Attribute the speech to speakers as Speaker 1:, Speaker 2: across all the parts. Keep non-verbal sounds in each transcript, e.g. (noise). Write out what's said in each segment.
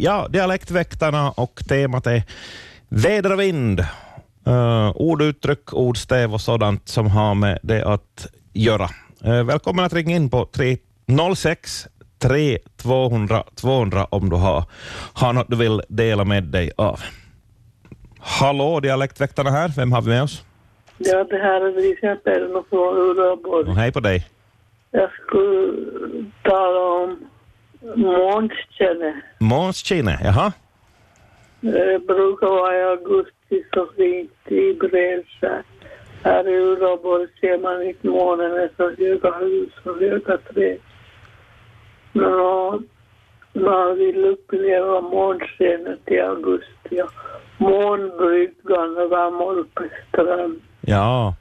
Speaker 1: Ja, Dialektväktarna och temat är väder och vind. Uh, ord, uttryck, ordstäv och sådant som har med det att göra. Uh, välkommen att ringa in på 306 3 200 200 om du har, har något du vill dela med dig av. Hallå, Dialektväktarna här. Vem har vi med oss?
Speaker 2: Ja, det här är Risa Perno från Uleåborg.
Speaker 1: Och hej på dig.
Speaker 2: Jag skulle tala om Måns Kjenne.
Speaker 1: Måns Kine, jaha.
Speaker 2: Det Eh, brukar vara i augusti så fint i Brevskär. Här i Uleåborg ser man inte månen med så höga hus och höga träd. Men ja, man vill uppleva månskenet i augusti och månbryggan över Molpestrand.
Speaker 1: Ja,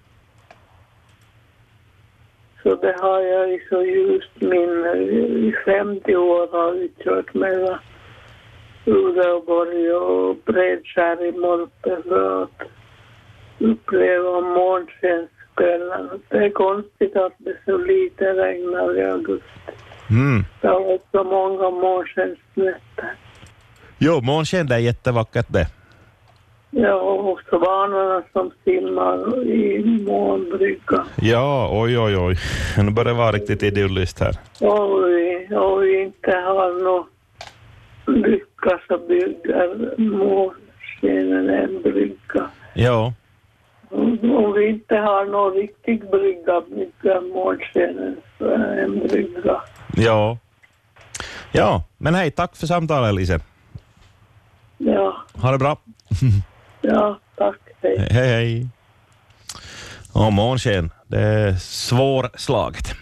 Speaker 2: Så det har jag liksom i så ljust minne. eh, I 50 år har vi kört mellan Uleåborg och Bredskär i Morpe för att uppleva månskenskvällarna. Det är konstigt att det så lite regnar i augusti.
Speaker 1: mm.
Speaker 2: Det har varit så många månskensnätter.
Speaker 1: Jo, månsken det är jättevackert det.
Speaker 2: Ja, och svanarna som simmar i månbryggan.
Speaker 1: Ja, oj, oj, oj. Nu börjar det vara riktigt idylliskt här.
Speaker 2: Om vi, om vi inte har någon lycka så bygger målskenen en brygga.
Speaker 1: Ja,
Speaker 2: Om vi inte har någon riktig brygga bygger målskenen en brygga.
Speaker 1: ja. Ja, men hej, tack för samtalet Lise.
Speaker 2: Ja,
Speaker 1: Ha det bra.
Speaker 2: ja, tack. Hej.
Speaker 1: Hej, hej. Och månsken, det är svårslaget.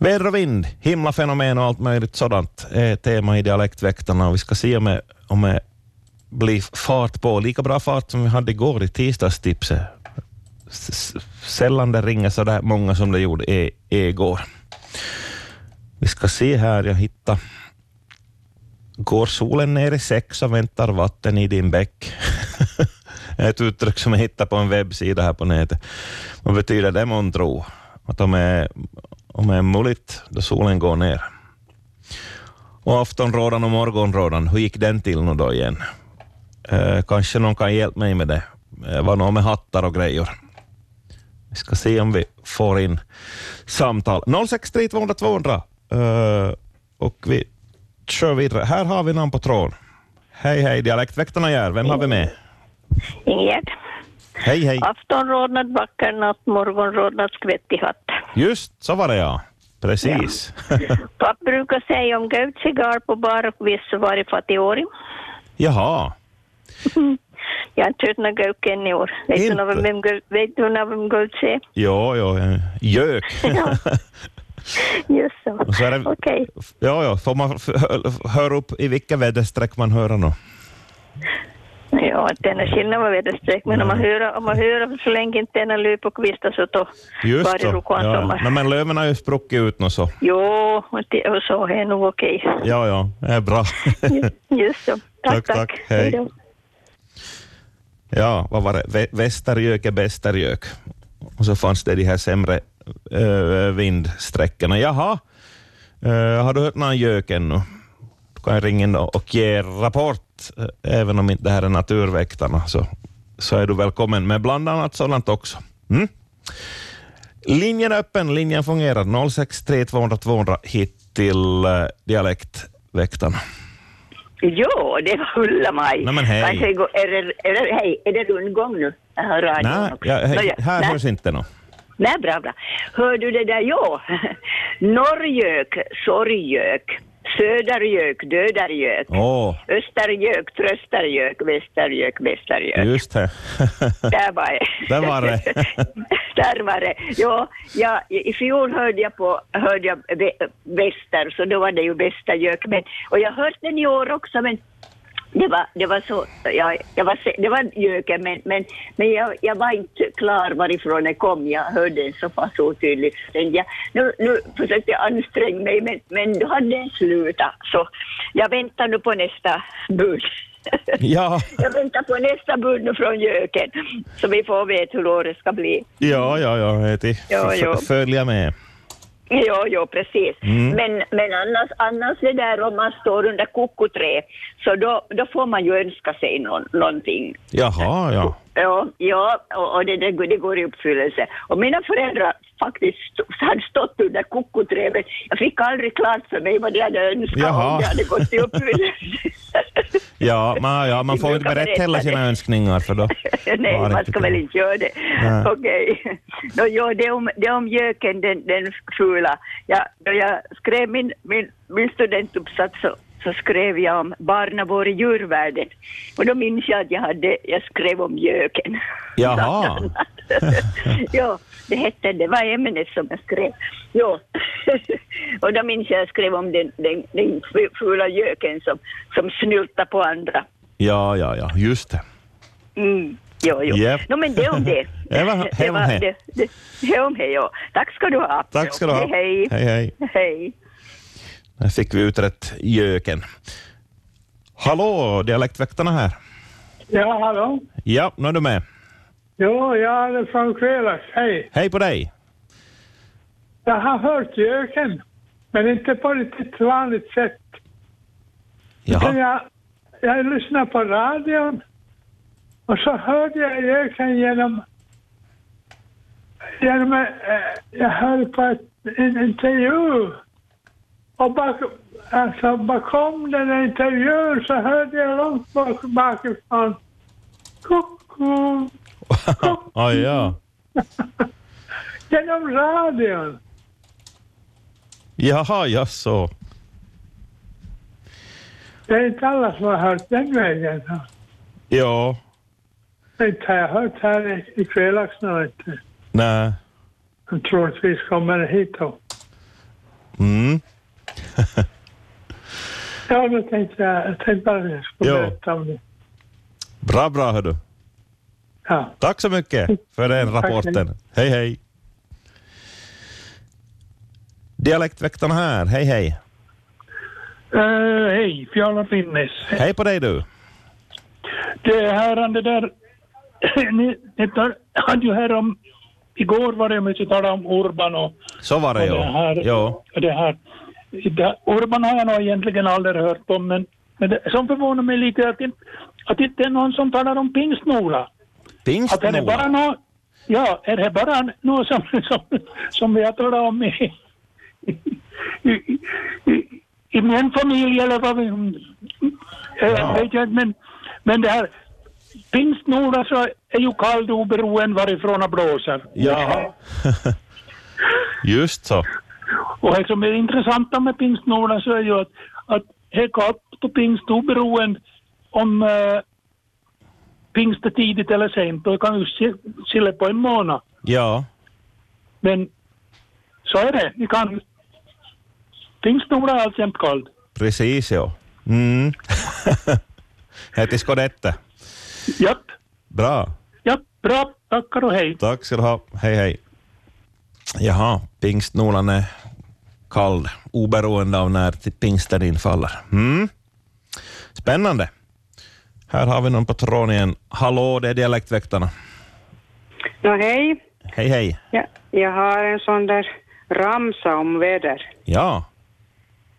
Speaker 1: Väder och vind, himlafenomen och allt möjligt sådant är tema i Dialektväktarna och vi ska se om det, om det blir fart på, lika bra fart som vi hade igår i tisdagstipset. S- s- Sällan det ringer så där många som det gjorde i- igår. Vi ska se här, jag hittar. Går solen ner i sex och väntar vatten i din bäck? (laughs) Ett uttryck som jag hittade på en webbsida här på nätet. Vad betyder det månntro? Att om det är, om det är mulligt då solen går ner. Och aftonrådan och morgonrådan, hur gick den till nu då igen? Eh, kanske någon kan hjälpa mig med det. Eh, var någon med hattar och grejer. Vi ska se om vi får in samtal. 063 200 200. Eh, och vi kör vidare. Här har vi någon på tråden. Hej, hej, dialektväktarna gör. Vem har vi med?
Speaker 3: Ingegerd.
Speaker 1: Hej, hej.
Speaker 3: Aftonrodnad, vacker natt, morgonrodnad, skvätt i hatt.
Speaker 1: Just så var det ja. Precis.
Speaker 3: Papp brukar säga om gaut cigarr på bar och viss så var det fattigåring.
Speaker 1: (laughs) Jaha.
Speaker 3: Jag har inte hört någon gauk än i år. Vet du
Speaker 1: Inte?
Speaker 3: någon vem gauk- vet du någon vem gauk är?
Speaker 1: Ja, ja. eh, Gök.
Speaker 3: Ja. Just så.
Speaker 1: Och så är
Speaker 3: Okej.
Speaker 1: det- Ja, ja. Får man f- hö- höra upp i vilka väderstreck man hör nu?
Speaker 3: Ja, det är någon skillnad med väderstreck, men
Speaker 1: Mm.
Speaker 3: om man hör, om man hör så länge inte en löp och kvista så då
Speaker 1: Just
Speaker 3: var det
Speaker 1: så.
Speaker 3: rokan
Speaker 1: Ja.
Speaker 3: sommar.
Speaker 1: Nej, men löven har ju spruckit ut nu så.
Speaker 3: Jo, och, det, och så är nog okej.
Speaker 1: Ja, ja. Det är bra.
Speaker 3: Just så.
Speaker 1: Tack,
Speaker 3: Tack, tack.
Speaker 1: tack. Hej.
Speaker 3: då.
Speaker 1: Ja, vad var det? Vä- Västergök är Västergök. Och så fanns det de här sämre ö, vindsträckorna. Jaha, Ö, har du hört någon gök ännu? Då kan jag ringa in och ge rapport. Eh, Även om inte det här är Naturväktarna så, så är du välkommen med bland annat sådant också. Mm? Linjen är öppen, linjen fungerar. 063 200 200 hit till eh, Dialektväktarna.
Speaker 4: Jo, det var Ulla-Maj.
Speaker 1: Nej, men hej.
Speaker 4: Varsågod. Är det, är det, hej, är det rundgång nu? Jag hör radion
Speaker 1: Nej,
Speaker 4: också.
Speaker 1: ja,
Speaker 4: Nåja,
Speaker 1: hej, här
Speaker 4: nej,
Speaker 1: hörs inte något.
Speaker 4: Nej, bra, bra. Hör du det där? Jo. (laughs) Norrgök, sorggök. Södergök, dödargök.
Speaker 1: Åh,
Speaker 4: Östergök, tröstargök, västergök,
Speaker 1: (laughs)
Speaker 4: västergök.
Speaker 1: just det.
Speaker 4: Där var det.
Speaker 1: Där var det.
Speaker 4: (laughs) Där var det. Ja, ja, i fjol hörde jag på hörde jag vä- väster, så då var det ju bästa gök. Men, och jag hörde den i år också, men det var, det var så, ja, jag var, se- det var göken, men, men, men jag, jag var inte klar varifrån den kom. Jag hörde den så pass otydligt. Men jag, nu, nu försökte jag anstränga mig, men, men då hade den slutat. Så jag väntar nu på nästa bud.
Speaker 1: Ja.
Speaker 4: Jag väntar på nästa bud nu från göken, så vi får veta hur året ska bli.
Speaker 1: Ja, ja, ja. Det är till-
Speaker 4: Ja,
Speaker 1: f-
Speaker 4: ja.
Speaker 1: Följa med.
Speaker 4: (laughs) Jo, jo, precis. Men, men annars, annars det där om man står under kokoträ, så då, då får man ju önska sig någon, någonting.
Speaker 1: Jaha, ja.
Speaker 4: Ja, ja och, och det, det, går- det går i uppfyllelse. Och mina föräldrar faktiskt st- hade stått under kokoträ, men jag fick aldrig klart för mig vad de hade önskat
Speaker 1: Jaha.
Speaker 4: om det hade gått i uppfyllelse.
Speaker 1: Ja, man, ja, man
Speaker 4: Vi
Speaker 1: får inte
Speaker 4: brukar
Speaker 1: berätta heller
Speaker 4: berätta
Speaker 1: sina
Speaker 4: det.
Speaker 1: önskningar för då
Speaker 4: (laughs) Nej,
Speaker 1: var det
Speaker 4: man ska väl
Speaker 1: kul.
Speaker 4: inte göra det.
Speaker 1: Nej.
Speaker 4: Okej. (laughs) Nå, ja, det om, det om göken, den, den fula. Jag, då jag skrev min, min, min studentuppsats så, så skrev jag om barnavård i djurvärlden. Och då minns jag att jag, hade, jag skrev om göken.
Speaker 1: Jaha.
Speaker 4: (laughs) ja, det hette det. var ämnet som jag skrev. Ja. (laughs) och då minns jag att jag skrev om den, den, den fula göken som, som snyltar på andra.
Speaker 1: Ja, ja, ja, just det.
Speaker 4: Mm. Jo, jo.
Speaker 1: Japp.
Speaker 4: Nå, men det om det.
Speaker 1: (laughs) Det var- det om det.
Speaker 4: det, det, det om det, ja. Tack ska du ha.
Speaker 1: Tack ska du ha.
Speaker 4: Hej, hej.
Speaker 1: hej. hej.
Speaker 4: hej.
Speaker 1: Där fick vi utrett göken. Hallå, dialektväktarna här.
Speaker 5: Ja, hallå?
Speaker 1: Ja, nu är du med.
Speaker 5: Jo, jag är från Kvelas. Hej.
Speaker 1: Hej på dig.
Speaker 5: Jag har hört göken, men inte på riktigt vanligt sätt. Utan
Speaker 1: Jaha.
Speaker 5: Jag, jag lyssnade på radion och så hörde jag göken genom... genom eh, jag hörde på ett, en intervju. Och bak, alltså bakom den här intervjun så hörde jag långt bak, bakifrån
Speaker 1: Oj,
Speaker 5: koko
Speaker 1: Ah,
Speaker 4: Mm.
Speaker 1: ja.
Speaker 5: (laughs) genom radion.
Speaker 1: Jaha, ja, så.
Speaker 5: Det är inte alla som har hört den vägen.
Speaker 1: Ja,
Speaker 5: Inte har jag hört här i, i Kvelaxnå inte.
Speaker 1: nej.
Speaker 5: Som troligtvis kommer hit då.
Speaker 1: Mm.
Speaker 5: Ja, då tänkte jag, jag tänkte bara att jag skulle
Speaker 1: Ja.
Speaker 5: berätta om det.
Speaker 1: Bra, bra hördu.
Speaker 5: Ja.
Speaker 1: Tack så mycket för den rapporten. Hej, hej. Dialektväktarna här. Hej, hej.
Speaker 6: Eh, hej, Fjalar Finnes.
Speaker 1: Hej på dig du.
Speaker 6: Det hörande där, (clears throat) ni, ni tar, hade ju här om, igår var det mycket tal om Urban och,
Speaker 1: Så var det
Speaker 6: och det
Speaker 1: ja.
Speaker 6: här.
Speaker 1: Ja,
Speaker 6: och Det här. Det, Urban har jag nog egentligen aldrig hört om, men, men det som förvånar mig lite är att, inte- att det inte är någon som talar om pingstnola. Att är det bara
Speaker 1: Pingstnola.
Speaker 6: någon, ja, är det bara något som, som, som vi har talat om i, i, i, i min familj eller vad vi... eh, Vet jag, inte, men, men det här pingstnorda så är ju kallt oberoende varifrån det blåser.
Speaker 1: Jaha. (laughs) Just så.
Speaker 6: Och det som är intressanta med pingstnorda så är ju att, att det är kallt på pingst oberoende om eh, pingst är tidigt eller sent. Och det kan ju se- skilja på en månad.
Speaker 1: Ja.
Speaker 6: Men så är det. Ni kan... Pingstnorda är alltjämt kald.
Speaker 1: Precis, ja. Mm. (laughs) Hette skodette.
Speaker 6: Japp,
Speaker 1: Bra.
Speaker 6: japp, bra. Tackar och hej.
Speaker 1: Tack ska du ha. Hej, hej. Jaha, pingstnolan är kall, oberoende av när t- pingsten infaller. Mm. Spännande. Här har vi någon på tråden igen. Hallå, det är dialektväktarna.
Speaker 7: Nå hej,
Speaker 1: Hej, hej.
Speaker 7: jag, jag har en sån där ramsa om väder.
Speaker 1: Ja,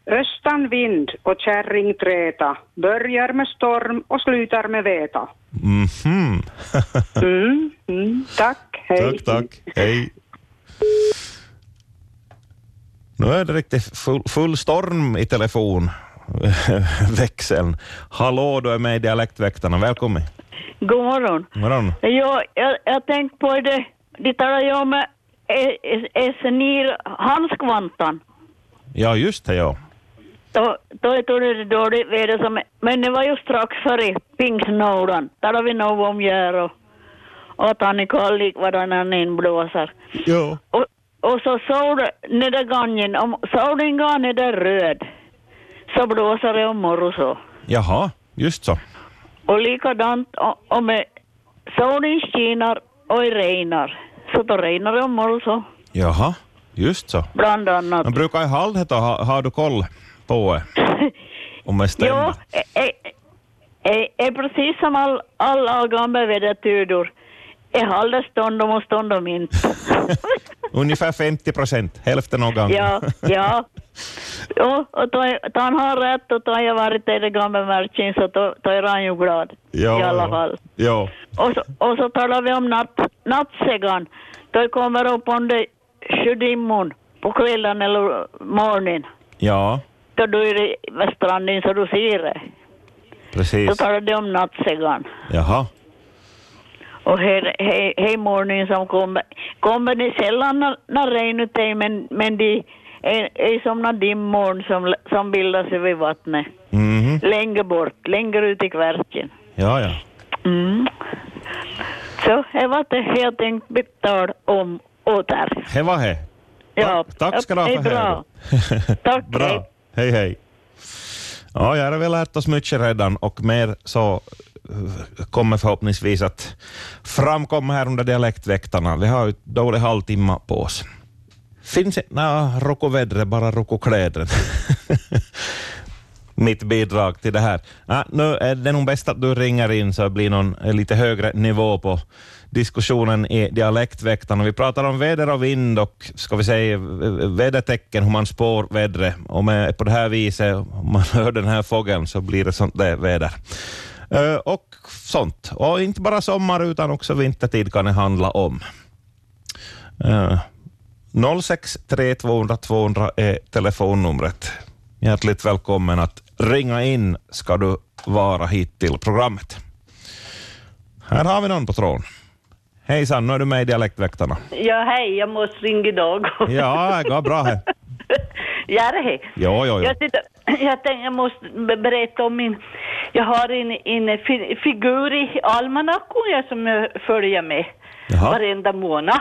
Speaker 7: Östan vind och kärringträta börjar med storm och slutar med väta.
Speaker 1: mhm. (laughs)
Speaker 7: Mm, mm, tack, hej.
Speaker 1: Tack, tack. Hej. Nu är det riktigt full, full storm i (laughs) telefonväxeln. Hallå, du är med i Dialektväktarna. Välkommen.
Speaker 4: God morgon.
Speaker 1: God morgon.
Speaker 4: Ja, jag, jag tänkte på det, de talar ju om eh, SNIR handskvantan.
Speaker 1: Ja, just det, ja.
Speaker 4: Då, då är det det dåligt väder som Men det var ju strax före pingsnodan. Talade vi nog om gör och, och att han är kall lik varann han inblåser.
Speaker 1: Ja.
Speaker 4: Och, och så sol nere gången, om solen går ner där röd så blåser det om morgon så.
Speaker 1: Jaha, just så.
Speaker 4: Och likadant o- om eh, solen skiner och det regnar så då regnar det om morgon så.
Speaker 1: Jaha, just så.
Speaker 4: Bland annat.
Speaker 1: Men brukar i halvhet ha, har du koll på det? Om det
Speaker 4: Jo,
Speaker 1: stämmer?
Speaker 3: e,
Speaker 4: eh, eh, eh, eh, precis som all,
Speaker 3: E
Speaker 4: alla gamla vädertudor. Är halda stånd om och stånd om inte.
Speaker 1: Ungefär 50 procent, hälften av gången.
Speaker 3: Ja, ja. Jo, och då, är- då han har rätt och då har jag varit i det gamla märken så då, då är han ju glad
Speaker 1: Ja,
Speaker 3: i alla
Speaker 1: ja.
Speaker 3: fall.
Speaker 1: (laughs) Ja.
Speaker 3: Och så, och så talar vi om natt, nattsägan. Då kommer upp under sjödimman på kvällen eller morgonen.
Speaker 1: ja,
Speaker 3: Då du är det vid stranden så du ser det. Då
Speaker 1: precis.
Speaker 3: talar de om Oh, nattsägan.
Speaker 1: Jaha.
Speaker 3: Och hej, hej, hej morgonen som kommer. Kommer det sällan när, när regnet är men, men det är, är som när dimmorn som, som bildas vid vattnet.
Speaker 1: Mhm.
Speaker 3: Längre bort, längre ut i kvärken.
Speaker 1: Ja, ja.
Speaker 3: Mm. Så det var det jag tänkte betala om åter.
Speaker 1: Det var det.
Speaker 3: Ja,
Speaker 1: Tack ska du ha
Speaker 3: hej
Speaker 1: för
Speaker 3: bra.
Speaker 1: här.
Speaker 3: Tack,
Speaker 1: Bra. Hej, hej. Ja, jag har väl lärt oss mycket redan och mer så eh, kommer förhoppningsvis att framkomma här under dialektväktarna. Vi har ju dålig halvtimme på oss. Finns det... Nej, rokovädret, bara (laughs) rokokläder. Mitt bidrag till det här. Ja, nu är det nog bäst att du ringer in så det blir någon eh, lite högre nivå på diskussionen i dialektväktarna. Vi pratar om väder och vind och ska vi säga eh, vädertecken, hur man spår vädret. Om det är på det här viset, om man (laughs) hör den här fågeln så blir det sånt där väder. Eh, Och sånt. Och inte bara sommar utan också vintertid kan det handla om. Eh, 063 200 200 är telefonnumret. Hjärtligt välkommen att ringa in ska du vara hit till programmet. Här har vi någon på tråden. Hejsan, nu är du med i Dialektväktarna.
Speaker 8: Ja, hej, jag måste ringa idag.
Speaker 1: Ja, det går bra här.
Speaker 8: (laughs) Ja, det är.
Speaker 1: Jo, jo, jo.
Speaker 8: Jag, sitter, jag tänkte jag måste be- berätta om min... Jag har en, en fi, figur i almanackan jag som jag följer med
Speaker 1: Jaha.
Speaker 8: varenda månad.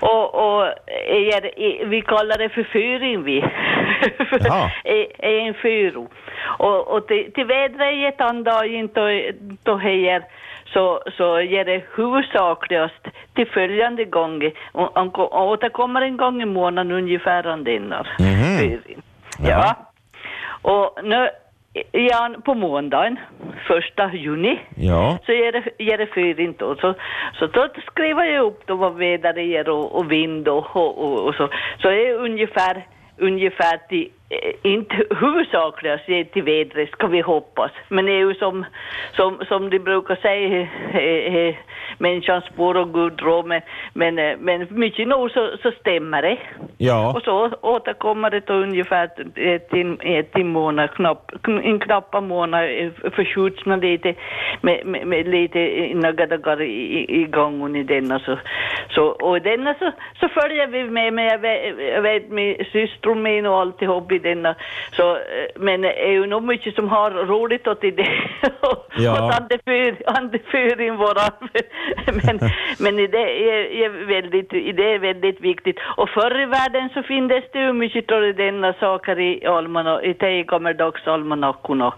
Speaker 8: Och, och är, är, vi kallar det för fyring vi.
Speaker 1: Jaha.
Speaker 8: (laughs) är, är en fyro. Och, och till, till vädret i ett annat inte då hejer så, så ger det huvudsakligast till följande gång. Och, och, och återkommer en gång i månaden ungefär om denna
Speaker 9: Mhm.
Speaker 8: fyring.
Speaker 9: Jaha.
Speaker 8: Ja. Och nu är han på måndagen, första juni,
Speaker 1: Ja.
Speaker 8: så ger det, ger det fyring då. Så, så då skriver jag upp då vad väder det ger och, och vind och, och, och, och så. Så det är ungefär, ungefär till, eh, inte huvudsakligen så är det till vädret ska vi hoppas. Men det är ju som, som, som de brukar säga, eh, eh, människans spår och Gud rå, men, men, eh, men mycket nog så, så stämmer det.
Speaker 1: Ja.
Speaker 8: Och så återkommer det då ungefär eh, ett, ett, en månad, knapp, en knappa månad eh, förskjuts man lite med, med, med lite några dagar i, i- i gången i denna så, så och i denna så, så följer vi med, men jag vet, jag vet min syster min och alltihop i denna så, eh, men det är ju nog mycket som har roligt åt i det (laughs)
Speaker 9: Ja.
Speaker 8: och han defyr, han defyr in våra men i det är, är väldigt, i det är väldigt viktigt. Och förr i världen så finns det ju mycket av denna saker i almanackan, i teikommerdagsalmanackan och,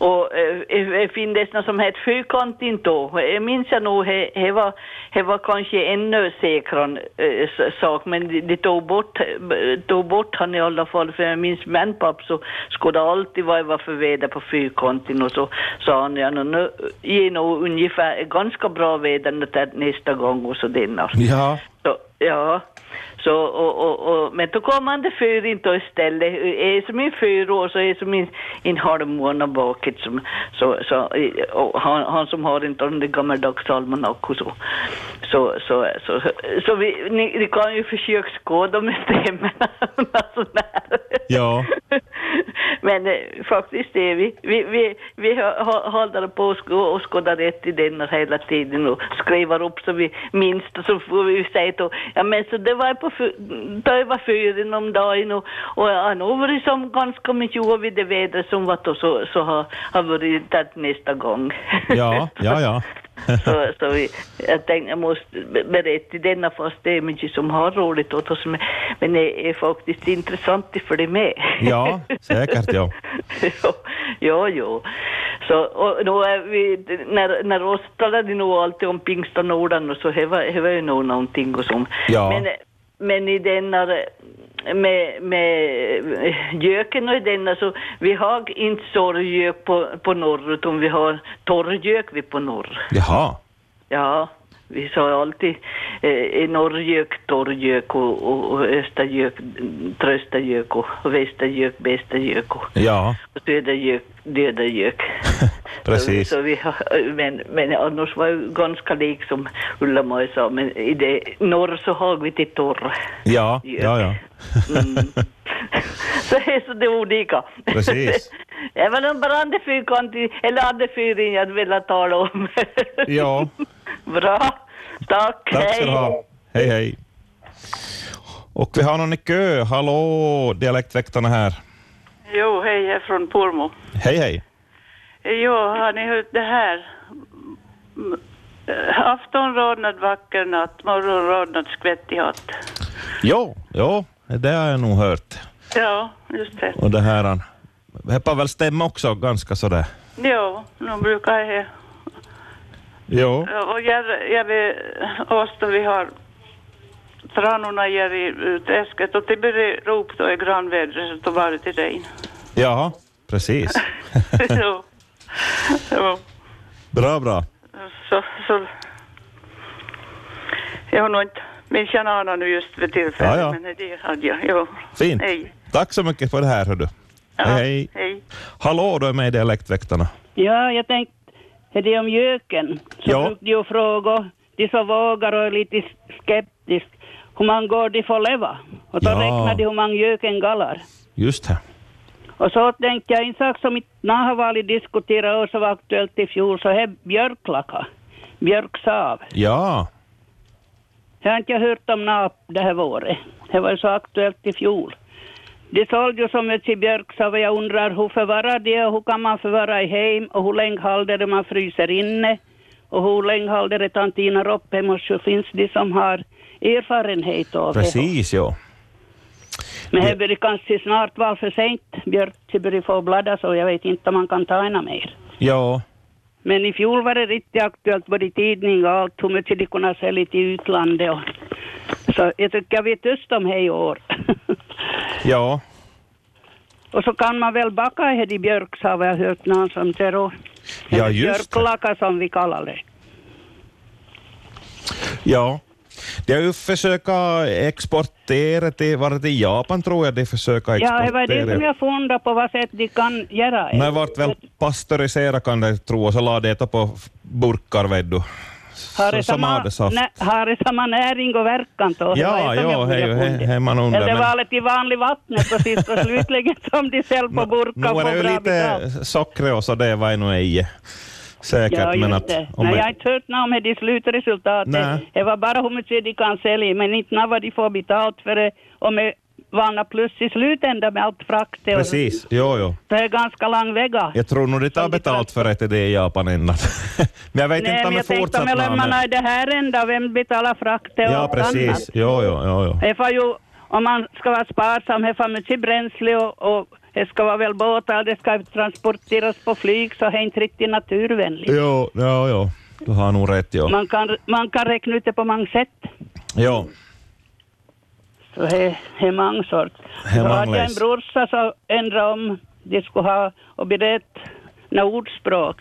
Speaker 8: och äh, finns något som heter fyrkanten då. Jag minns jag nog, det- det var, det var kanske ännu säkrare eh, s- sak, men de, de tog bort, eh, tog bort han i alla fall, för jag minns min papp så skulle det alltid vara vad för väder på fyrkanten och så sa han, ja nu- nu ger nog ungefär ganska bra väder nu till nästa gång och så denna.
Speaker 1: Ja.
Speaker 8: Så, ja. Så, och, och, och, men då kom han det för inte istället. Är som en fyra år så är som en, en halv månad bakåt. Som, så, så, och han, han som har inte den där gammaldags almanack och så. Så, så, så, så, vi, ni, ni kan ju försöka skåda om det stämmer.
Speaker 1: Ja.
Speaker 8: (laughs) Men eh, faktiskt är vi, vi, vi, vi hå- hå- håller på att sko- och skåda rätt i den här hela tiden och skriver upp så vi minns det så får vi säga då, ja men så det var på fy- det var fyren om dagen och, och han har varit som ganska mycket vid det vädret som var då så, så har, har varit där nästa gång. (laughs)
Speaker 1: Ja, ja, ja.
Speaker 8: så, så vi, jag tänkte jag måste be- berätta i denna fast det är mycket som har roligt åt oss men- men det är faktiskt intressant att följa med. (laughs)
Speaker 1: Ja, säkert ja.
Speaker 8: Jo, jo. Så, och då är vi, när, när oss talade nog alltid om pingstanorden och så, det var det var ju nog någonting och så.
Speaker 9: Ja.
Speaker 8: Men, men i denna, med, med eh, göken och i denna så, vi har inte sorggök på, på norr, utan vi har torrgök vi på norr.
Speaker 1: Jaha.
Speaker 8: Ja. Vi sa alltid eh, norrgök, torrgök och, och, och östergök, tröstergök och, och västergök, bästergök och,
Speaker 1: Ja,
Speaker 8: och södergök, dödergök.
Speaker 1: precis.
Speaker 8: Så, så vi, har- men, men annars var det ganska lik som Ulla-Maj sa, men i det norr så har vi till torr. (laughs)
Speaker 1: Ja, ja, ja.
Speaker 8: Mm. så det är så det är olika. (laughs)
Speaker 1: Precis.
Speaker 8: Jag var nog bara andra fyrkantig, eller andra fyrin jag ville tala om. (laughs)
Speaker 1: Ja,
Speaker 8: Bra. Tack.
Speaker 1: tack ska du ha. Hej, hej. Och vi har någon i kö. Hallå, dialektväktarna här.
Speaker 9: Jo, hej, jag är från Pormo.
Speaker 1: Hej, hej.
Speaker 9: Jo, har ni hört det här? Mm, eh, Afton rodnad vacker natt, morgon rodnad skvättig hatt.
Speaker 1: Jo, jo, det har jag nog hört.
Speaker 9: Ja, just det.
Speaker 1: Och det här, han- det kan väl stämma också ganska sådär.
Speaker 9: Jo, nu brukar jag...
Speaker 1: Jo.
Speaker 9: Och jag, jag vid oss då vi har tranorna ger i i träsket och det börjar rop då i granvädret så då var det till regn. (laughs)
Speaker 1: Ja, precis.
Speaker 9: jo. jo.
Speaker 1: Bra, bra.
Speaker 9: Så, så. Jag har nog inte min kärna nu just vid tillfället,
Speaker 1: Ja, ja.
Speaker 9: men det hade jag. Jo.
Speaker 1: Fint.
Speaker 9: Hej.
Speaker 1: Tack så mycket för det här, hördu. Hej, hej.
Speaker 9: Hej.
Speaker 1: Hallå, du är med i Dialektväktarna.
Speaker 10: Ja, jag tänkte, är det om göken? Så
Speaker 1: Ja.
Speaker 10: brukade jag fråga de som vågar och är lite skeptisk hur man går de får leva. Och då
Speaker 1: Ja.
Speaker 10: räknar de hur man göken gallar.
Speaker 1: Just det.
Speaker 10: Och så tänkte jag en sak som inte när har varit diskuterat och som var aktuellt i fjol så är björklaka. Björksav.
Speaker 1: Ja,
Speaker 10: Jag har inte hört om nap det här året. Det var ju så aktuellt i fjol. Det sålde ju som ett i björksav och jag undrar hur förvarar det och hur kan man förvara i hem och hur länge håller det man fryser inne och hur länge håller det tantinar upp? Det måste ju finnas de som har erfarenhet av det.
Speaker 1: precis, jo.
Speaker 10: Men det börjar kanske snart vara för sent. Björk det börjar få bladda så jag vet inte om man kan ta ena mer.
Speaker 1: Ja,
Speaker 10: Men i fjol var det riktigt aktuellt både i tidning och allt hur mycket de kunde sälja till utlandet. Och... Så jag tycker jag vet just om det i år.
Speaker 1: ja.
Speaker 10: (laughs) och så kan man väl baka i det i björks har jag hört någon som säger. och-
Speaker 1: Ja,
Speaker 10: eller
Speaker 1: just det.
Speaker 10: Björklaka som vi kallar det.
Speaker 1: Ja. De har ju försökt exportera till, var det till Japan tror jag de försöker
Speaker 10: Ja,
Speaker 1: exportera.
Speaker 10: det var det som jag funderade på vad sätt de kan göra. det.
Speaker 1: Men vart väl pastöriserat kan det tro och så la det på burkar vet du.
Speaker 10: har det
Speaker 1: så- som
Speaker 10: samma,
Speaker 1: adelsaft.
Speaker 10: nä, har det samma näring och verkan då? Det var
Speaker 1: Ja,
Speaker 10: det som
Speaker 1: jo,
Speaker 10: jag
Speaker 1: hej,
Speaker 10: funderade på.
Speaker 1: hej, hej man undrar.
Speaker 10: Eller
Speaker 1: men-
Speaker 10: var det i vanlig vattnet och
Speaker 1: (laughs)
Speaker 10: sist och slutligen som de säljer på burkar
Speaker 1: Nu
Speaker 10: och
Speaker 1: är det
Speaker 10: får
Speaker 1: ju
Speaker 10: bra betalt?
Speaker 1: lite socker och så det var ju nog ej säkert.
Speaker 10: Ja,
Speaker 1: men
Speaker 10: just
Speaker 1: att,
Speaker 10: det.
Speaker 1: om
Speaker 10: Nej,
Speaker 1: det-
Speaker 10: jag har inte hört något om det slutresultatet.
Speaker 1: Nej.
Speaker 10: Det var bara hur mycket de kan sälja, men inte när vad de får betalt för det. Och med vanna plus i slutändan med allt frakt. och-
Speaker 1: Precis, jo, jo.
Speaker 10: Det är ganska lång väga.
Speaker 1: Jag tror nog det tar betalt för att det är i Japan innan. (laughs) men jag vet
Speaker 10: Nej,
Speaker 1: inte om
Speaker 10: men
Speaker 1: det
Speaker 10: jag tänkte
Speaker 1: fortsatt
Speaker 10: om jag lämnar i det här ända, vem betalar frakt och
Speaker 1: Ja,
Speaker 10: allt annat?
Speaker 1: precis. Jo, jo, jo, jo.
Speaker 10: Det får ju, om man ska vara sparsam, det får mycket bränsle och, och det ska vara väl båtar, det ska transporteras på flyg, så det är inte riktigt naturvänligt.
Speaker 1: Jo, jo, jo. Du har nog rätt, jo.
Speaker 10: Man, kan, man kan räkna ut det på många sätt.
Speaker 1: Jo,
Speaker 10: Så he, he mangsort.
Speaker 1: He
Speaker 10: Så hade jag en
Speaker 1: mangles.
Speaker 10: brorsa så ändrade om de skulle ha och berett något ordspråk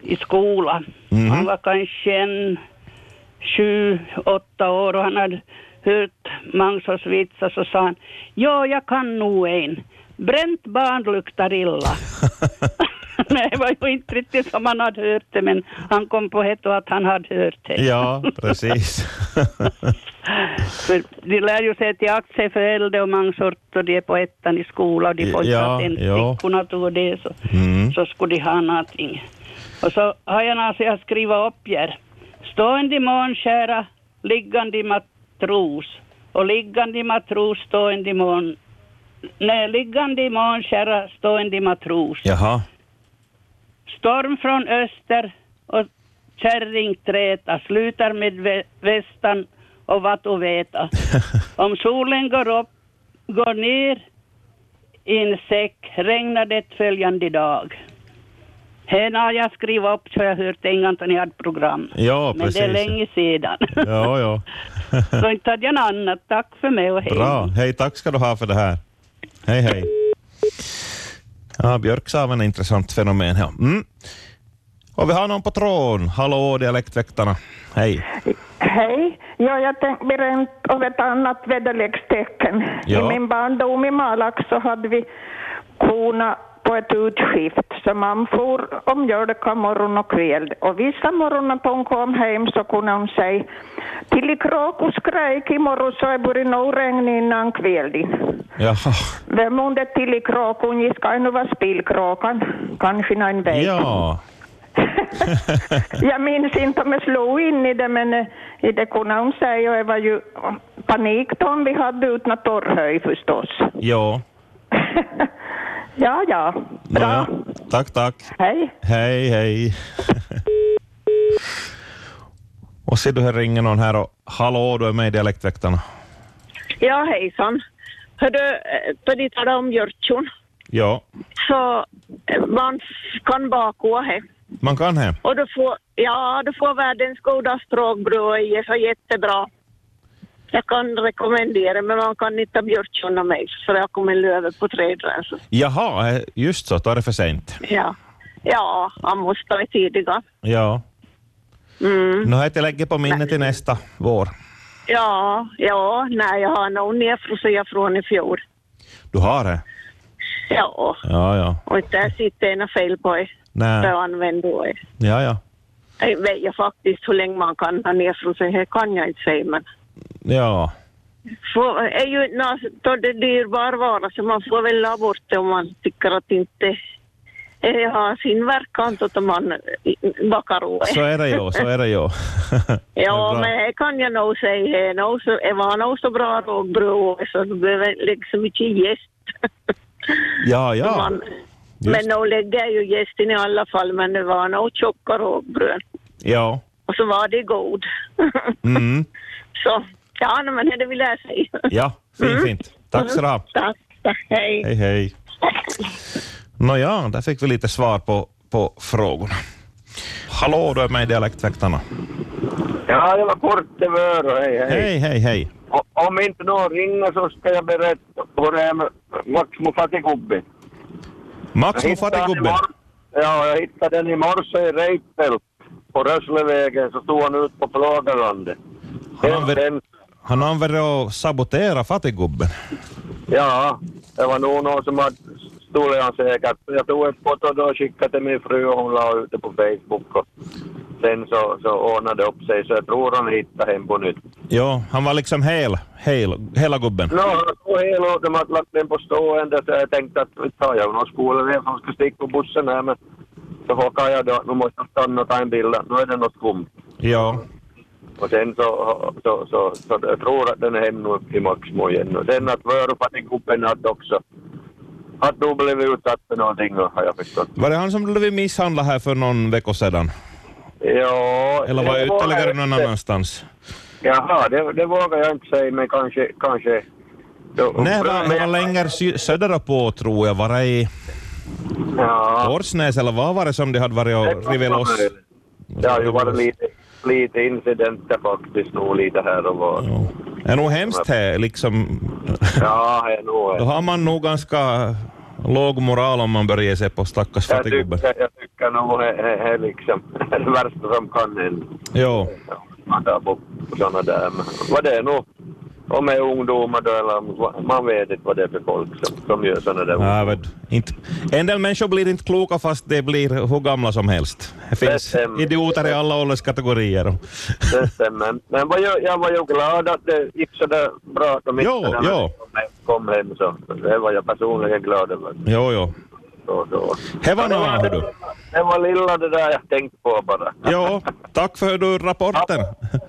Speaker 10: i skolan.
Speaker 11: Mhm.
Speaker 10: Han var kanske en sju, åtta år och han hade hört Mangsors vitsar så sa han ja, jag kan nog en. Bränt barn
Speaker 1: (laughs)
Speaker 10: luktar illa. Nej, det var ju inte riktigt som han hade hört det, men han kom på det och att han hade hört det.
Speaker 1: ja
Speaker 2: (laughs)
Speaker 1: precis.
Speaker 10: För de lär ju sig till aktier för äldre och mansort och de är på ettan i skolan och de får inte
Speaker 1: Ja,
Speaker 10: ja, en
Speaker 1: ja.
Speaker 10: flickorna tog det så,
Speaker 1: Mm.
Speaker 10: så skulle de ha någonting. Och så har jag alltså jag skrivit upp här. Stående i månskära, liggande i matros och liggande i matros, stående i mån... Nej, liggande i månskära, stående i matros.
Speaker 1: Jaha.
Speaker 10: Storm från öster och kärring träta slutar med vä- västan och vad
Speaker 1: (laughs)
Speaker 10: och veta. Om solen går upp, går ner i en säck regnar det följande dag. Här har jag skrivit upp så jag hört en gång när ni hade program.
Speaker 1: Ja,
Speaker 10: Men det är
Speaker 1: precis.
Speaker 10: länge sedan.
Speaker 1: Jo, jo.
Speaker 10: (laughs) så inte hade jag något annat. Tack för mig och hej.
Speaker 1: Bra. Hej, tack ska du ha för det här. Hej, hej. Ja, björksaven är ett intressant fenomen. Ja. Mm. Och vi har någon på tråden. Hallå, dialektväktarna. Hej.
Speaker 11: Hej, ja, jag tänkte berätta om ett annat väderlekstecken.
Speaker 1: Ja.
Speaker 11: I min barndom i Malax så hade vi korna på ett utskift, så man for och mjölka morgon och kväll. Och vissa morgnar när hon kom hem så kunde hon säga till i kråkos skräk imorgon så är det nog regn innan kvällen.
Speaker 1: Jaha.
Speaker 11: Vem under till i kråkon gissar nu var spillkråkan, kanske någon vet. (laughs)
Speaker 1: Ja.
Speaker 11: Jag minns inte om jag slog in i det, men eh, i det kunde hon säga och det var ju no panik då om vi hade utna torrhöj förstås.
Speaker 1: Ja.
Speaker 11: Ja, ja.
Speaker 1: Bra. Tack, tack.
Speaker 11: Hej.
Speaker 1: Hej, hej. (laughs) och ser du, här ringer någon här och hallå, du är med i dialektväktarna.
Speaker 4: Ja, hejsan. Hördu, eh, då ni talade om Jörtjon,
Speaker 1: Ja,
Speaker 4: så eh, man f- kan bakåa här.
Speaker 1: man kan här.
Speaker 4: Och du får, ja, du får världens goda språkbröd i så jättebra. Jag kan rekommendera, men man kan inte Björtjon av mig, för jag kommer löva på trädgränsen.
Speaker 1: Jaha, eh, just så, då är det för sent.
Speaker 4: Ja. ja, man måste vara tidiga.
Speaker 1: Ja.
Speaker 4: Mm.
Speaker 1: Nu har jag inte lägger på minnet till nästa vår.
Speaker 4: Ja, ja, nej, jag har nog nerfrosit från i fjol.
Speaker 1: Du har det?
Speaker 4: Ja,
Speaker 1: Ja, ja.
Speaker 4: och där sitter en fel på det.
Speaker 1: Nej.
Speaker 4: Så jag använder det.
Speaker 1: Ja, ja.
Speaker 4: Jag vet ju faktiskt hur länge man kan ha nedfrusen, det kan jag inte säga. Men
Speaker 1: Ja.
Speaker 4: får, är ju inte nå- då det är dyrbar vara så man får väl la bort det om man tycker att inte det har sin tota, verkan så att man eh, bakar åt.
Speaker 1: Så är det ju,
Speaker 4: (laughs)
Speaker 1: så är det ju.
Speaker 4: Ja,
Speaker 1: bra.
Speaker 4: men det kan jag nog säga. Det är nog så- Det var nog så bra rågbröd så det behöver liksom inte gäst.
Speaker 1: Ja, ja.
Speaker 4: Man-
Speaker 1: Just.
Speaker 4: Men nog lägger jag ju gästen i alla fall, men det var nog tjocka rågbröd.
Speaker 1: Ja.
Speaker 4: Och så var det (laughs) god.
Speaker 1: Mm.
Speaker 4: Så, ja, nej, men det vill jag säga.
Speaker 1: Ja, fint, fint. Tack så du ha.
Speaker 4: Tack, Mm-hmm. tack, hej.
Speaker 1: Hej, hej. Nåja, där fick vi lite svar på, på frågorna. Hallå, du är med i Dialektväktarna.
Speaker 12: Ja, det var Kortevöro. Hej, hej.
Speaker 1: Hej, hej, hej.
Speaker 12: O- Om inte någon ringer så ska jag berätta hur det är med Maxmo Fatigubbe.
Speaker 1: Max
Speaker 12: Jag
Speaker 1: och
Speaker 12: hittade
Speaker 1: Fattigubben.
Speaker 12: den i mor- Ja, niin jag hittade den i morse i Reitel. På Röslevägen så stod han ut på Plågalandet.
Speaker 1: Han har väl- Han har väl att sabotera Fattigubben?
Speaker 12: Ja, det var nog någon som hade stulit han säkert. Jag tog ett foto då och skickade till min fru och hon la ut det på Facebook. Och sen så, så ordnade det upp sig så jag tror han hittade hem på nytt.
Speaker 1: Ja, han var liksom hel, hel hela gubben.
Speaker 12: No, jag tog hela åt dem att lagt den på stående så jag tänkte att vi tar jag någon skolelev som ska sticka på bussen här men så hockade jag då, nu måste jag stanna och ta en bild, nu är det något skumt.
Speaker 1: Ja.
Speaker 12: Och sen så, så, så, så, jag tror att den är hem nu i Maxmo igen. Och sen att Vörufatikuppen hade också, hade nog blivit utsatt för någonting har jag förstått.
Speaker 1: Var det han som blev misshandlad här för någon vecka sedan?
Speaker 12: Ja,
Speaker 1: Eller var det ytterligare någon
Speaker 12: det-
Speaker 1: annanstans?
Speaker 12: Jaha, det, det vågar jag inte säga men kanske, kanske.
Speaker 1: Nej, det var, det var längre sy- söderut på tror jag. Var det i
Speaker 12: Ja.
Speaker 1: Årsnäs eller vad var det som de hade varit och rivit loss?
Speaker 12: Det har ju varit lite, lite incidenter faktiskt nog lite här och var.
Speaker 1: Det är nog hemskt här liksom.
Speaker 12: Ja, det är nog.
Speaker 1: Då har man nog ganska låg moral om man börjar se på stackars
Speaker 12: Jag
Speaker 1: fattiggubben.
Speaker 12: tycker, jag tycker nog det är- är liksom (laughs) det värsta som kan hända.
Speaker 1: Jo,
Speaker 12: Man tar bort sådana där. Men vad det är nog. Om det är ungdomar då eller vad- man vet inte vad det är för folk som, som gör sådana där.
Speaker 1: ja, vet, inte. En del människor blir inte kloka fast de blir hur gamla som helst. Det finns idioter i alla ålderskategorier.
Speaker 12: Det stämmer. Men vad jag, jag var ju glad att det gick så där bra att de
Speaker 1: Jo,
Speaker 12: hittade när
Speaker 1: jo.
Speaker 12: de kom hem- kom hem. Så det var jag personligen glad över.
Speaker 1: Jo, jo.
Speaker 12: Så, så.
Speaker 1: Det var något, hör du.
Speaker 12: Det var lilla det där jag tänkte på
Speaker 1: (laughs)
Speaker 12: bara.
Speaker 1: Jo, tack för du rapporten.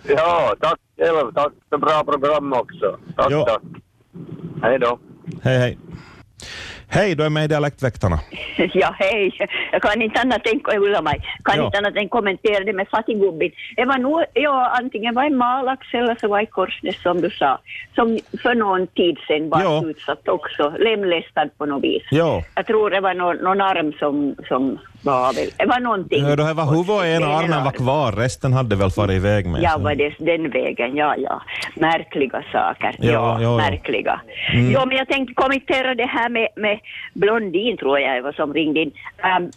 Speaker 12: Ja, tack själv. Tack för bra program också. Tack, tack. Hej då.
Speaker 1: Hej, hej. Hej, du är med i Dialektväktarna.
Speaker 4: (laughs)
Speaker 7: Ja, hej. Jag kan inte annat än, ursäkta mig, kan
Speaker 1: Ja.
Speaker 7: inte annat än kommentera det med fattiggubben. Det var nog, ja, antingen var det Malax eller så var det Korsnäs som du sa, som för någon tid sedan var
Speaker 1: Ja.
Speaker 7: utsatt också, lemlästad på något vis.
Speaker 1: Jo.
Speaker 7: Jag tror det var någon, någon arm som, som var väl, det var någonting.
Speaker 1: Hörde, det var huvudet och ena armen var kvar, resten hade väl farit iväg med.
Speaker 7: Ja,
Speaker 1: så.
Speaker 7: var det den vägen, ja, ja. Märkliga saker.
Speaker 1: Ja,
Speaker 7: Ja,
Speaker 1: ja, ja.
Speaker 7: märkliga.
Speaker 1: Mm.
Speaker 7: Jo, men jag tänkte kommentera det här med, med Blondin, tror jag det var, som ringde in. Ehm,
Speaker 4: Ähm,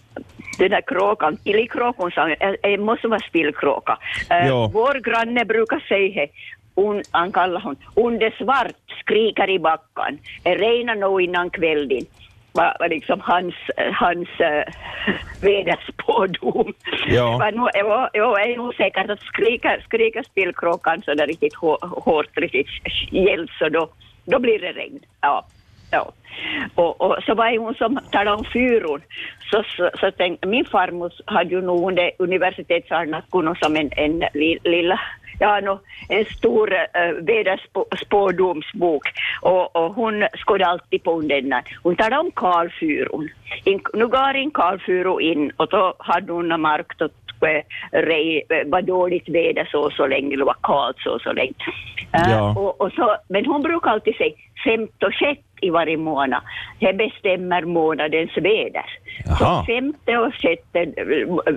Speaker 4: den där kråkan, illkråkan sa jag, det måste vara spillkråka. Eh,
Speaker 5: Ja.
Speaker 4: Vår granne brukar säga hon, han kallar hon, under svart skriker i backan, det regnar nog innan kvällen. Var, var liksom hans, eh, hans äh, (laughs) väderspådom.
Speaker 1: Ja.
Speaker 4: Det var nog- det var- Jo, det är nog säkert att skrika, skrika spillkråkan så där riktigt hå- hårt, riktigt gällt så då, då blir det regn. Ja. Ja. Och, och så var det hon som talade om fyror. Så, så, så tänkte, min farmor hade ju nog under universitetsarnaskon som en, en li, lilla, ja, no, en stor äh, väderspådomsbok. Och, och hon skådde alltid på den. där. Hon talade om kalfyrun. In, nu går in kalfyru in och då hade hon märkt att eh, rej- eh, var dåligt väder så och så länge, det var kallt så och så länge. Äh,
Speaker 5: Ja.
Speaker 4: och, och så, men hon brukar alltid säga femte och sjätte i varje månad. Det bestämmer månadens väder.
Speaker 5: Jaha.
Speaker 4: Så femte och sjätte eh,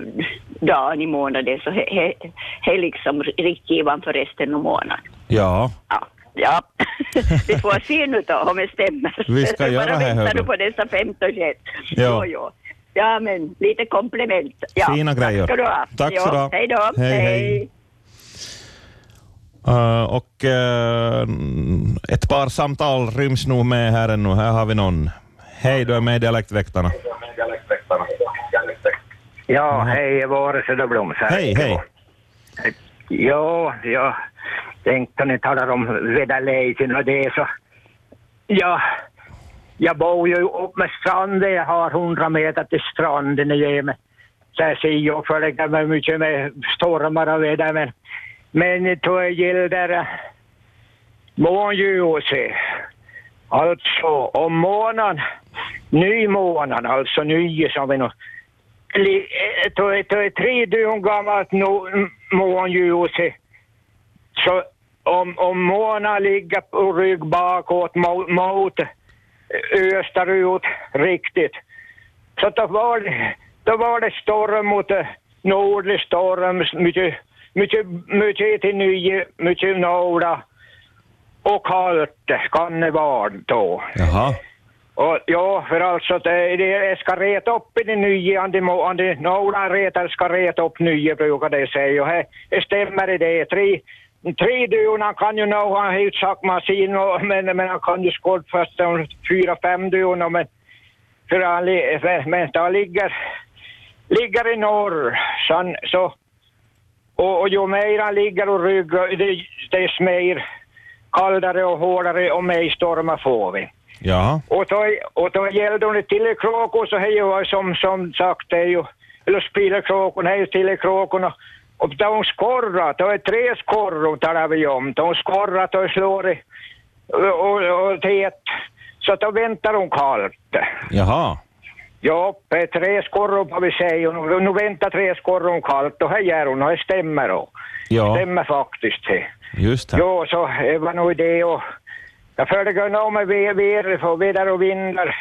Speaker 4: dagen i månaden så he- he- he är liksom riktgivaren för resten av månaden.
Speaker 1: Ja.
Speaker 4: Ja, (laughs) vi får se nu då om det stämmer.
Speaker 1: Vi ska
Speaker 4: (laughs)
Speaker 1: göra
Speaker 4: Bara
Speaker 1: det här,
Speaker 4: vänta
Speaker 1: hördu.
Speaker 4: nu på dessa femte och sjätte. Jo,
Speaker 1: Ja.
Speaker 4: jo. Ja, men lite komplement. Ja,
Speaker 1: Fina grejer.
Speaker 4: Tack ska du ha.
Speaker 1: Tack så
Speaker 4: Jo,
Speaker 1: bra.
Speaker 4: Hej då.
Speaker 1: Hej, hej. Eh, och eh, ett par samtal ryms nog med här ännu. Här har vi någon. Hej, du är med i Dialektväktarna.
Speaker 13: Ja, hej, Vare Söderblom. så här.
Speaker 1: Hej, hej.
Speaker 13: Ja, jag tänkte ni talar om väderleken och det så. Ja, jag bor ju upp med stranden. Jag har hundra meter till stranden i Jemen. Där ser jag för det kan vara mycket med stormar och väder. Men, men då gäller det månljuset. Alltså om månen, nymånen, alltså nye som vi nu li- eh, då är- då är tre dygn gammalt no- m- månljuset. Så om, om månen ligger på rygg bakåt mot, mot österut riktigt. Så då var det, då var det storm mot eh, nordlig storm, mycket, mycket, mycket till nio, mycket norda. Och kallt kan det vara då.
Speaker 1: Jaha.
Speaker 13: Och, ja, för alltså att det, det ska reta upp i det nya, ande, må- ande, några retar ska reta upp nya brukar det säga. Och här det stämmer i det. Tre, tre duvorna kan ju nå ha en helt sak maskin, och, men, men han kan ju skåda fast de fyra, fem duvorna. Men, för han, li- men, men han ligger, ligger i norr, så, han, så och, och ju mer han ligger och ryggar, det- desto mer kallare och hårdare och mer stormar får vi.
Speaker 1: Ja.
Speaker 13: Och då, och då gällde hon till kråkor så hej var som, som sagt det är ju, eller spillekråkorna, hej till kråkorna. Och då hon skorrat, då är tre skorror talar vi om. Då hon skorrat och slår i, och, och, och tät. Så då väntar hon kallt.
Speaker 1: Jaha.
Speaker 13: Ja, eh, tre skorror har vi säger. Och Nu, nu väntar tre skorror kallt och här gör hon och det stämmer då.
Speaker 1: Ja.
Speaker 13: Stämmer faktiskt det.
Speaker 1: Just det.
Speaker 13: Jo, så det var nog det. Och jag följde nog med ve- väder och väder och vindar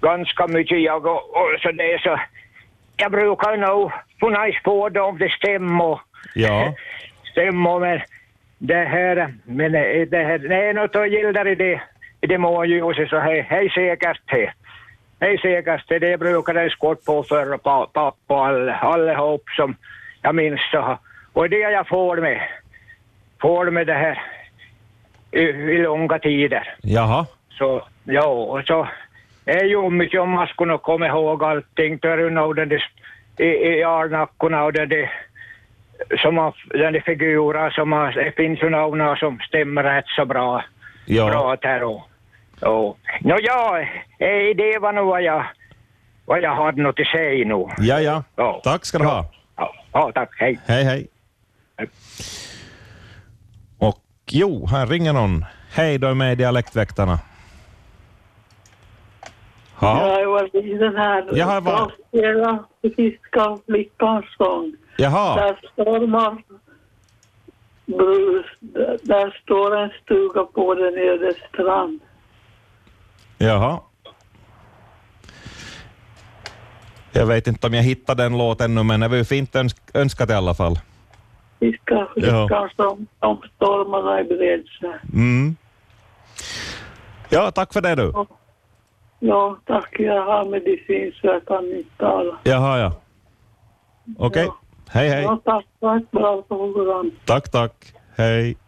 Speaker 13: ganska mycket jag och, och så det så. Jag brukar nog få nice på det om det stämmer.
Speaker 1: Ja.
Speaker 13: Stämmer men det här, men eh, det här, nej något då gillar i det, i det månljuset så hej, hej säkert det. Hej säkert det, det brukade jag skott på för pa- pappa och all- allihop som jag minns så. Och det jag får med, får med det här i, i långa tider.
Speaker 1: Jaha.
Speaker 13: Så, ja, och så är ju mycket om man skulle komma ihåg allting. Då är det nog den där s- i, i alnackorna och den där, som man, den där figuren som man, det finns ju några e som stämmer rätt så bra.
Speaker 1: Ja.
Speaker 13: Bra där och, och. Nå, ja, eh, det var nog vad jag, vad jag hade något att säga nu.
Speaker 1: Ja, ja.
Speaker 13: Ja.
Speaker 1: Tack ska du ha.
Speaker 13: Ja, tack. Hej.
Speaker 1: Hej, hej. Och jo, här ringer någon. Hej, du är med i Dialektväktarna. Ja.
Speaker 2: Ja, det var precis den här
Speaker 1: Jaha, vad-
Speaker 2: Hela friska flickans sång.
Speaker 1: Jaha.
Speaker 2: Där stormar brus. Där- Där står en stuga på den öde strand.
Speaker 1: Jaha. Jag vet inte om jag hittade den låten nu, men det var ju fint önsk- önskat i alla fall.
Speaker 2: Friska
Speaker 1: Ja.
Speaker 2: flickan som, som stormarna i bred sig.
Speaker 1: Mm. Ja, tack för det du.
Speaker 2: Ja, tack. Jag har medicin så jag kan inte tala.
Speaker 1: Jaha, ja. Okej. Hej, hej.
Speaker 2: Ja, tack. Tack. Bra program.
Speaker 1: Tack, tack. Hej.